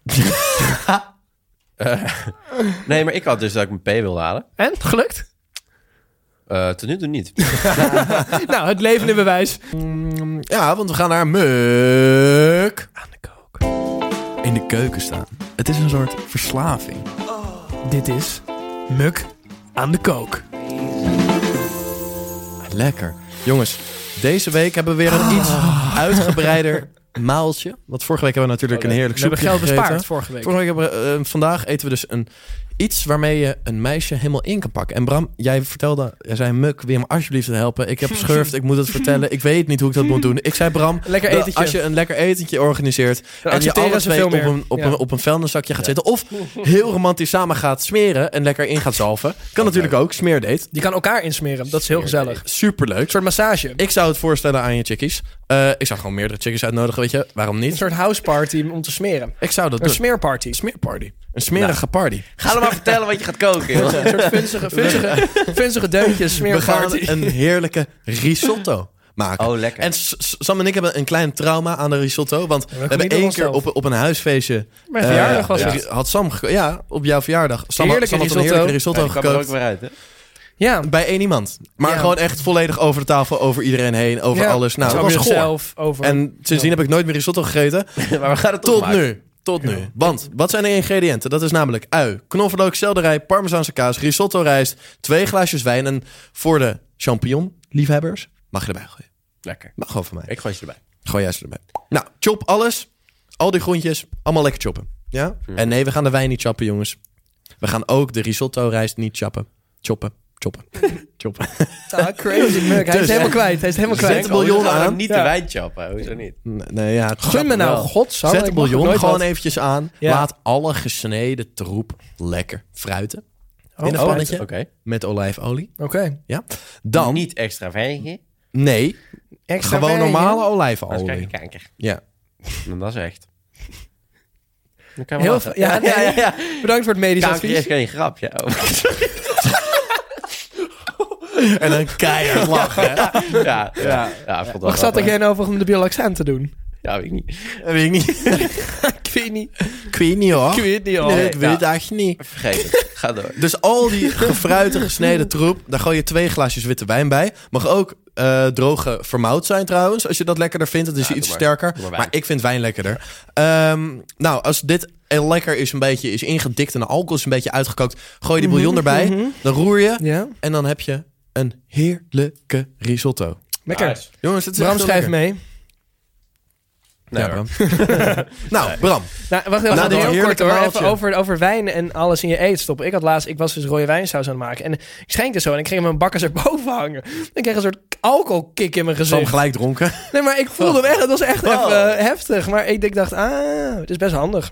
Nee, maar ik had dus dat ik mijn P wilde halen. En? (laughs) Gelukt? Eh, tot nu toe niet. nou, het levende bewijs. Mm, ja, want we gaan naar Muk. Aan de kook. In de keuken staan. Het is een soort verslaving. Dit is Muk aan de kook. Ah, Lekker. Jongens, deze week hebben we weer een iets uitgebreider maaltje. Ah. Want vorige week hebben we natuurlijk een heerlijk Oh, We hebben soepje geld gegeten. bespaard vorige week. Vorige week hebben we, eh, vandaag eten we dus een, iets waarmee je een meisje helemaal in kan pakken. En Bram, jij vertelde, jij zei Muk, wil je me alsjeblieft helpen? (laughs) Ik heb geschurft, ik moet het vertellen. Ik weet niet hoe ik dat moet doen. Ik zei Bram, Lekker dat etentje. als je een lekker etentje organiseert en je alle accepteren ze twee veel op meer. een, op, Ja. een, op een vuilniszakje gaat zitten (laughs) of heel romantisch samen gaat smeren en lekker in gaat zalven. Kan natuurlijk ook, smeerdate. Je kan elkaar insmeren. Dat is heel gezellig. Een Superleuk. soort massage. Ik zou het voorstellen aan je chickies. Eh, ik zou gewoon meerdere chickies uitnodigen, weet je. Waarom Een niet? soort houseparty om te smeren. Ik zou dat Een Nou. doen. smeerparty. Een smeerparty. Een smerige party. Ga dan maar vertellen wat je gaat koken, (laughs) joh. Een soort vunzige, vunzige, (laughs) vunzige deuntjes, We gaan smeerparty. een heerlijke risotto (laughs) maken. Oh, lekker. En S- S- Sam en ik hebben een klein trauma aan de risotto. Want we hebben genieten één van keer op, op een huisfeestje... Mijn eh, verjaardag was ja, het. Had Sam... geko- Ja, op jouw verjaardag. Sam, had- Heerlijke Sam had risotto. een heerlijke Ja, risotto die kwam er ook gekookt. weer uit, hè? (laughs) Ja. Bij één iemand. Maar Ja. gewoon echt volledig over de tafel, over iedereen heen, over Ja. alles. Nou, Over dat was goor. jezelf, over... En sindsdien heb ik nooit meer risotto gegeten. maar we gaan het toch Tot maken. nu. Tot nu. Want, wat zijn de ingrediënten? Dat is namelijk ui, knoflook, selderij, parmezaanse kaas, risotto rijst, twee glaasjes wijn. En voor de champignon-liefhebbers mag je erbij gooien. Lekker. Mag gewoon van mij. Ik gooi je erbij. Gooi juist erbij. Nou, chop alles. Al die groentjes. Allemaal lekker choppen. Ja? En nee, we gaan de wijn niet choppen, jongens. We gaan ook de risotto rijst niet choppen. Choppen. Choppen. choppen. Ah, crazy Muk. Hij is Dus- helemaal kwijt. Hij is helemaal Zet kwijt. een biljon We gaan aan. ook Niet Ja. de wijn chappen, hoezo niet? Nee, ja. het Gun me choppen nou, wel. godzang. Zet de bouillon gewoon eventjes aan. Ja. Laat alle gesneden troep lekker fruiten. in een Oh, pannetje Oké. met olijfolie. Oké. Dan, Niet extra vegen. nee, Extra gewoon vergen. normale Anders krijg je olijfolie. kanker. Ja. En dat is echt. (laughs) Dan kan je wel Heel lachen. veel- ja, nee, (laughs) ja. Bedankt voor het medisch Kanker is advies. geen grap, ja. Oh, En dan keihard lachen. hè? ja, ja. ja, ik vond het wel Wat zat grappig. ik jij nou voor om de bioloog aan te doen? Ja, weet ik niet. Dat weet (laughs) ik niet. Ik weet niet. (laughs) Ik weet niet hoor. Ik weet niet al. Nee, ik weet Ja. het eigenlijk niet. Vergeet het. Ga door. Dus al die gefruite, gesneden troep, daar gooi je twee glaasjes witte wijn bij. Mag ook eh, droge vermout zijn trouwens, als je dat lekkerder vindt. Dat is Ja, iets doe maar. sterker, Doe maar maar, wijn. ik vind wijn lekkerder. Ehm, nou, als dit heel lekker is, een beetje is ingedikt en de alcohol is een beetje uitgekookt, gooi je die bouillon erbij, dan roer je Ja, en dan heb je een heerlijke risotto. lekker. Nice. Jongens, het is Bram, echt heel schrijf lekker. mee. Nee, Ja, Bram. (laughs) nou, Bram. Nou, wacht even, Nou, wacht dit even, heel kort heerlijke hoor. maaltje. Even over, over wijn en alles in je eten stoppen. Ik had laatst, ik was dus rode wijnsaus aan het maken. En ik schenkte zo en ik ging mijn bakkers (laughs) erboven hangen. Ik kreeg een soort alcoholkick in mijn Sam gezicht. gelijk dronken. Nee, maar ik voelde hem echt. Het was echt even eh, heftig. Maar ik, ik dacht, ah, het is best handig.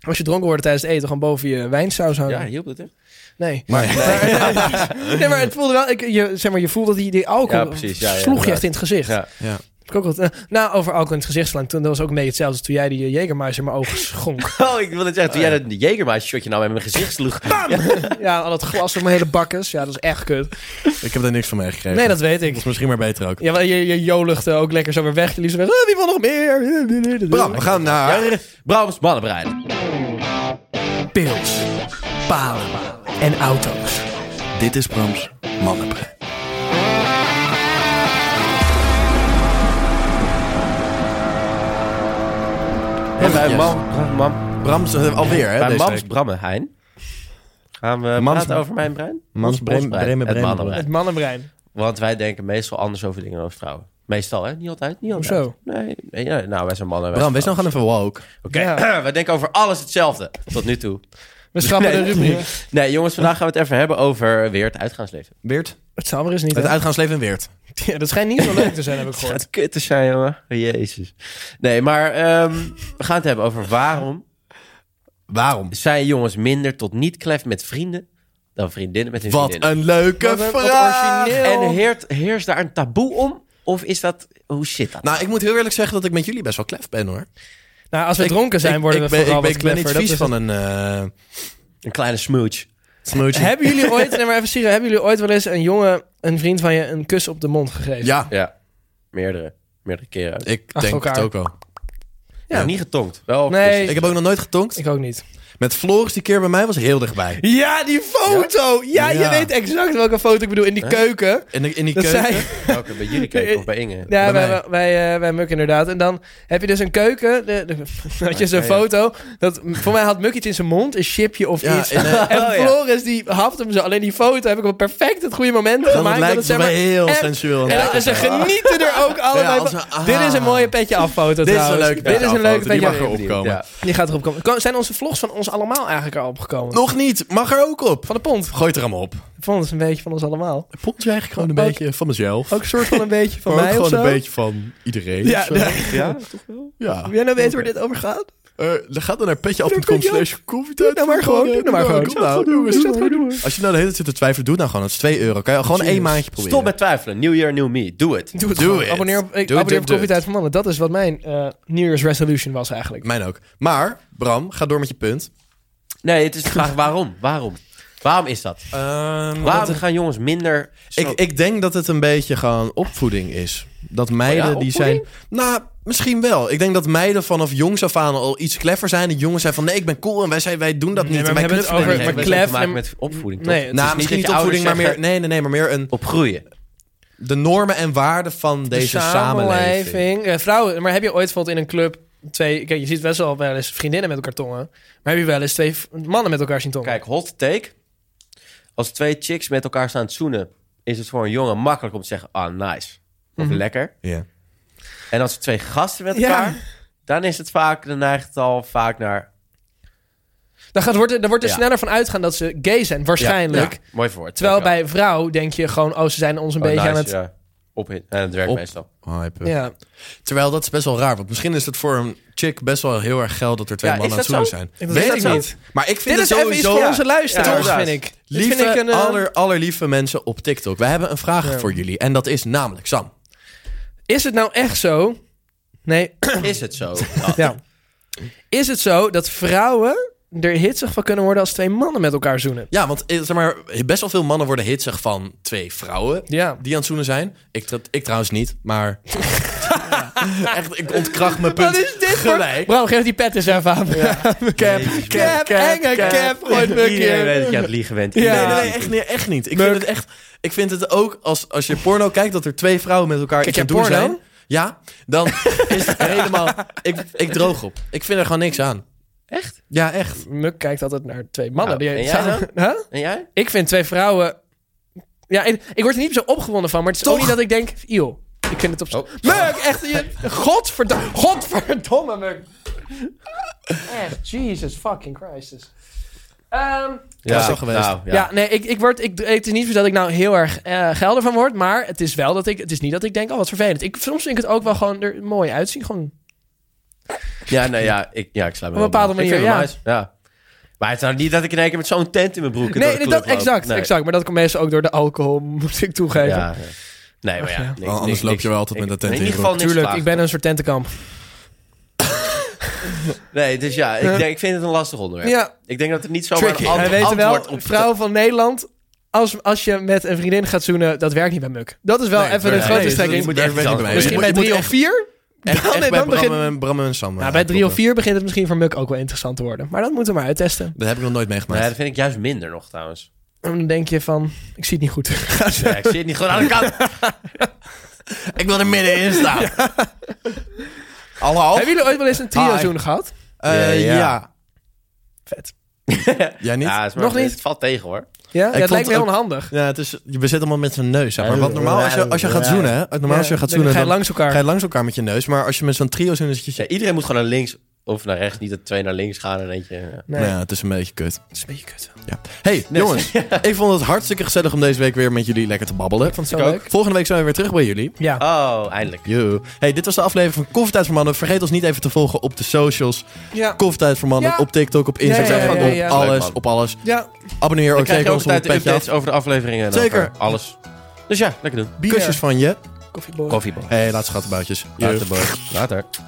Als je dronken wordt tijdens het eten, gewoon boven je wijnsaus hangen. Ja, hielp het, hè? Nee. (laughs) Maar, (laughs) Nee, maar het voelde wel... Ik, je, zeg maar, je voelde die, die alcohol Ja, precies, ja, ja, sloeg je echt inderdaad. in het gezicht. Ja. Ja. Heb ik ook wat, eh, nou, over alcohol in het gezicht slaan. Toen, dat was ook een beetje hetzelfde als toen jij die uh, Jägermeister in mijn (laughs) ogen schonk. Oh, ik wil het zeggen. Toen jij dat Jägermeister-shotje nou in mijn gezicht sloeg. ja, al dat glas op mijn hele bakkes. Ja, dat is echt kut. ik heb daar niks van meegekregen. Nee, dat weet ik. is misschien maar beter ook. Ja, wel, je, je jo luchtte ook lekker zo weer weg. Je liet ze weg. Eh, wie wil nog meer? Bram, we gaan naar... Brahms mannenbrein. Pils, palen en auto's. Dit is Brams Mannenbrein. En bij Yes. Mam, Bram, Mam, Brams eh, alweer, hè? bij deze Mams week. Brammenheijn gaan we Mams- praten over mijn brein. Mams Bremen- Ons brein, Bremen- het Bremen- mannenbrein. Het mannenbrein. Want wij denken meestal anders over dingen dan over vrouwen. Meestal, hè? Niet altijd. Niet altijd. Hoezo? Nee, nee, nee, nou, wij zijn mannen. wij zijn Bram, wees nou gewoon even woke. Oké, (clears throat) Ja. wij denken over alles hetzelfde. Tot nu toe. We schrappen (laughs) Nee. de rubriek. Nee, jongens, vandaag gaan we het even hebben over weer het (laughs) uitgaansleven. Weert. Het zal maar eens niet. Het hè? uitgaansleven in Weert. Ja, dat schijnt niet zo leuk te (laughs) zijn, heb ik Het gehoord. gaat kut te zijn, jongen. Jezus. Nee, maar ehm, we gaan het hebben over waarom Waarom? zijn jongens minder tot niet klef met vrienden dan vriendinnen met hun Wat vriendinnen. een leuke Wat een- wat vraag! origineel. En heert, heerst daar een taboe om? Of is dat... Hoe zit dat? Nou, ik moet heel eerlijk zeggen dat ik met jullie best wel klef ben, hoor. Nou, als we Ik- dronken zijn, ik- worden ik we ben, vooral ik ben, wat ik ben niet kleffer, dat vies is van een eh Een kleine smooch. smootje. Hebben jullie ooit, nee maar even serieus, hebben jullie ooit wel eens een jongen, een vriend van je, een kus op de mond gegeven? Ja, Ja, meerdere. Meerdere keren. Ik ik Achter denk elkaar. het ook wel. heb niet getonkt. Wel Nee. Ik heb ook nog nooit getonkt. Ik ook niet. Met Floris die keer bij mij was heel dichtbij. Ja, die foto! Ja, Ja. je weet exact welke foto ik bedoel. In die keuken. In, de- in die Dat keuken. zei... Welke bij jullie keken of bij Inge. Ja, Bij wij, wij, mij. wij, eh, bij Muk inderdaad. En dan heb je dus een keuken. De, (laughs) de- had je zo'n Oké, ja. foto. Dat, voor mij had Muk iets in zijn mond. Een chipje of Ja, iets. in, eh, (laughs) En Oh, ja. Floris die hapt hem zo. Alleen die foto heb ik op perfect het goede moment dan het gemaakt. lijkt het, het zeg mij maar- heel en- sensueel. en, dat- en ze genieten er (laughs) ook allebei als van. een- ah. Dit is een mooie petje affoto Dit is een trouwens. leuke Dit is een leuke Die petje mag af. erop komen. Ja. Die gaat erop komen. Ko- Zijn onze vlogs van ons allemaal eigenlijk al opgekomen? Nog niet. Mag er ook op. Van de pond. Gooi het er allemaal op. Van ons een beetje van ons allemaal. Vond je eigenlijk gewoon Ook- een beetje van mezelf. Ook een soort (laughs) van een beetje van maar mij ook of gewoon zo. een beetje van iedereen. Ja, of zo. ja. Ja? ja. Wil jij nou weten waar dit over gaat? Eh, dan gaat dan naar petjeaf.com slash koffietijd. Doe het nou maar gewoon, doe het nou maar gewoon. Kom nou, jongens. Als je nou de hele tijd zit te twijfelen, doe het nou gewoon. Het is 2 euro. Kan je gewoon één maandje proberen. Stop met twijfelen. New year, new me. Doe het. Doe het Doe gewoon. it. Abonneer op, ik, Doe it, abonneer op doe it, Koffietijd van Mannen. Dat is wat mijn eh New Year's resolution was eigenlijk. Mijn ook. Maar, Bram, ga door met je punt. Nee, het is de vraag waarom. Waarom? Waarom is dat? Waarom gaan jongens minder... zo- ik, ik denk dat het een beetje gewoon opvoeding is. Dat meiden Oh ja, die zijn... Nou, misschien wel. Ik denk dat meiden vanaf jongs af aan al iets clever zijn. De jongens zijn van, nee, ik ben cool en wij, zijn, wij doen dat Nee, niet. maar we en wij hebben het knuffelen over- Nee, niet. maar maar klef klef en- maken met opvoeding, toch? Nee, het Nou, is misschien niet niet dat je opvoeding, maar ouders meer... zeggen- Nee, nee, nee, maar meer een, Opgroeien. de normen en waarden van De deze samenleving. Eh, vrouwen, maar heb je ooit bijvoorbeeld in een club twee... Kijk, je ziet best wel wel eens vriendinnen met elkaar tongen. Maar heb je wel eens twee v- mannen met elkaar zien tongen? Kijk, hot take. Als twee chicks met elkaar staan te zoenen... is het voor een jongen makkelijk om te zeggen... Ah, nice. Of Mhm. lekker. Ja. En als er twee gasten met (laughs) Ja. elkaar... dan is het vaak... dan neigt het al vaak naar... Dan, gaat, wordt er, dan wordt er Ja. sneller van uitgaan dat ze gay zijn, waarschijnlijk. Ja, Oh, mooi voor. oh, Terwijl bij vrouw denk je gewoon, oh, ze zijn ons een beetje aan het... op in. En het werkt Op. meestal. Hype. Ja. Terwijl dat is best wel raar, want misschien is het voor een chick best wel heel erg geld dat er twee Ja, mannen aan is het dat zoenen zo? zijn. Is dat zo? Maar ik vind Dit is het even iets sowieso voor onze luisteraars, Ja, vind ik. Dit lieve, vind ik een, eh, aller, allerlieve mensen op TikTok. We hebben een vraag voor jullie en dat is namelijk Sam. Is het nou echt zo? Nee. (clears throat) Is het (laughs) zo? Ja. Is het zo dat vrouwen er hitsig van kunnen worden als twee mannen met elkaar zoenen? Ja, want eh, zeg maar, best wel veel mannen worden hitsig van twee vrouwen Ja. die aan het zoenen zijn. Ik, tra- ik trouwens niet, (laughs) maar... (laughs) Echt, ik ontkracht mijn punt Wat is dit voor... gelijk. Bro, geef die pet eens even aan. (laughs) Cap, cap, enge cap, gooit me een Iedereen keer. weet dat je aan het liegen bent. Ja. Nee, nee, nee, echt niet. Echt niet. Ik, vind het echt, ik vind het ook, als, als je porno kijkt, dat er twee vrouwen met elkaar Kijk iets aan jij het doen porno? zijn. Ja, dan (laughs) is het helemaal... Ik, ik droog op. Ik vind er gewoon niks aan. Echt? Ja, echt. Muk kijkt altijd naar twee mannen. Nou, en (laughs) die jij samen- Huh? En jij? Ik vind twee vrouwen... Ja, ik, ik word er niet zo opgewonden van, maar het is ook niet dat ik denk... Eeuw, ik vind het op... Oh. Muk, echt... Je, godverdomme, godverdomme, Muk. Echt, Jesus fucking Christus. Ehm, Dat is toch geweest. nou, ja. nee, ik, ik word, ik, het is niet zo dat ik nou heel erg eh gelder van word, maar het is wel dat ik... Het is niet dat ik denk, oh, wat vervelend. Ik, soms vind ik het ook wel gewoon er mooi uitzien, gewoon... Ja, nou ja, ik, ja, ik sluit me Op wel een bepaalde bij. Ik vind manier, het wel nice, ja. Maar het is nou niet dat ik in één keer met zo'n tent in mijn broek... door Nee, de nee, club dat, loop. exact, Nee. exact. Maar dat komt meestal ook door de alcohol, (laughs) moet ik toegeven. Ja, ja. Nee, maar ja. niks- Wel, anders niks- loop je wel altijd niks- met dat tent In ieder in geval niks Tuurlijk, klaar. ik ben een soort tentenkamp. Nee, dus ja, ik, denk, ik vind het een lastig onderwerp. Ja. Ik denk dat het niet zomaar Tricky. een ant- Wij weten antwoord wel, op... vrouwen van Nederland, als, als je met een vriendin gaat zoenen, dat werkt niet bij Muk. Dat is wel Nee, even nee, een grote nee, strekking. dat moet je echt Misschien niet mee. misschien Je bij moet- je drie moet of vier? echt- Dan- echt nee, bij dan Bram begin- en- Bram en Sam. Nou, eh, bij drie of kloppen. vier begint het misschien voor Muk ook wel interessant te worden. Maar dat moeten we maar uittesten. Dat heb ik nog nooit meegemaakt. Nee, dat vind ik juist minder nog (laughs) trouwens. En dan denk je van, ik zie het niet Oh. goed. Nee, ik zit niet gewoon aan de kant. (laughs) Ik wil er middenin staan. Hallo? Hebben jullie ooit wel eens een trio Hi. zoen gehad? Eh, Ja. ja. (laughs) Vet. Jij niet? Ja, is maar- Nog niet? Het valt tegen hoor. Ja, dat vond lijkt me ook- heel onhandig. Ja, het is, je bezit allemaal met zijn neus. Zeg maar. Want normaal als je, als je gaat Ja. zoenen, hè, normaal als je Ja, gaat dan zoenen, ga je dan langs elkaar. ga je langs elkaar met je neus. Maar als je met zo'n trio zoent, dan zit Ja, je... iedereen moet gewoon naar links of naar rechts. Niet dat twee naar links gaan en eentje... Ja. Nee, Ja, Nou, het is een beetje kut. dat is een beetje kut. Ja. Hey, (laughs) (laughs) jongens. Ik vond het hartstikke gezellig om deze week weer met jullie lekker te babbelen. Vond het zo leuk. Volgende week zijn we weer terug bij jullie. Ja. Oh, eindelijk. Yo. Hey, dit was de aflevering van Koffietijd voor Mannen. Vergeet ons niet even te volgen op de socials. Ja. Koffietijd voor Mannen Ja. op TikTok, op ja, ja, Instagram, ja, ja. op alles, Leuk, man. op alles. Ja, Abonneer Dan ook krijg je zeker ook ons op tijd het de petje af. updates over de afleveringen en Zeker. over alles. Dus ja, lekker doen. bier, Kusjes van je. koffieboy. Koffiebal. Hey, laatste schattenboutjes. Yo. Later, boys. Later.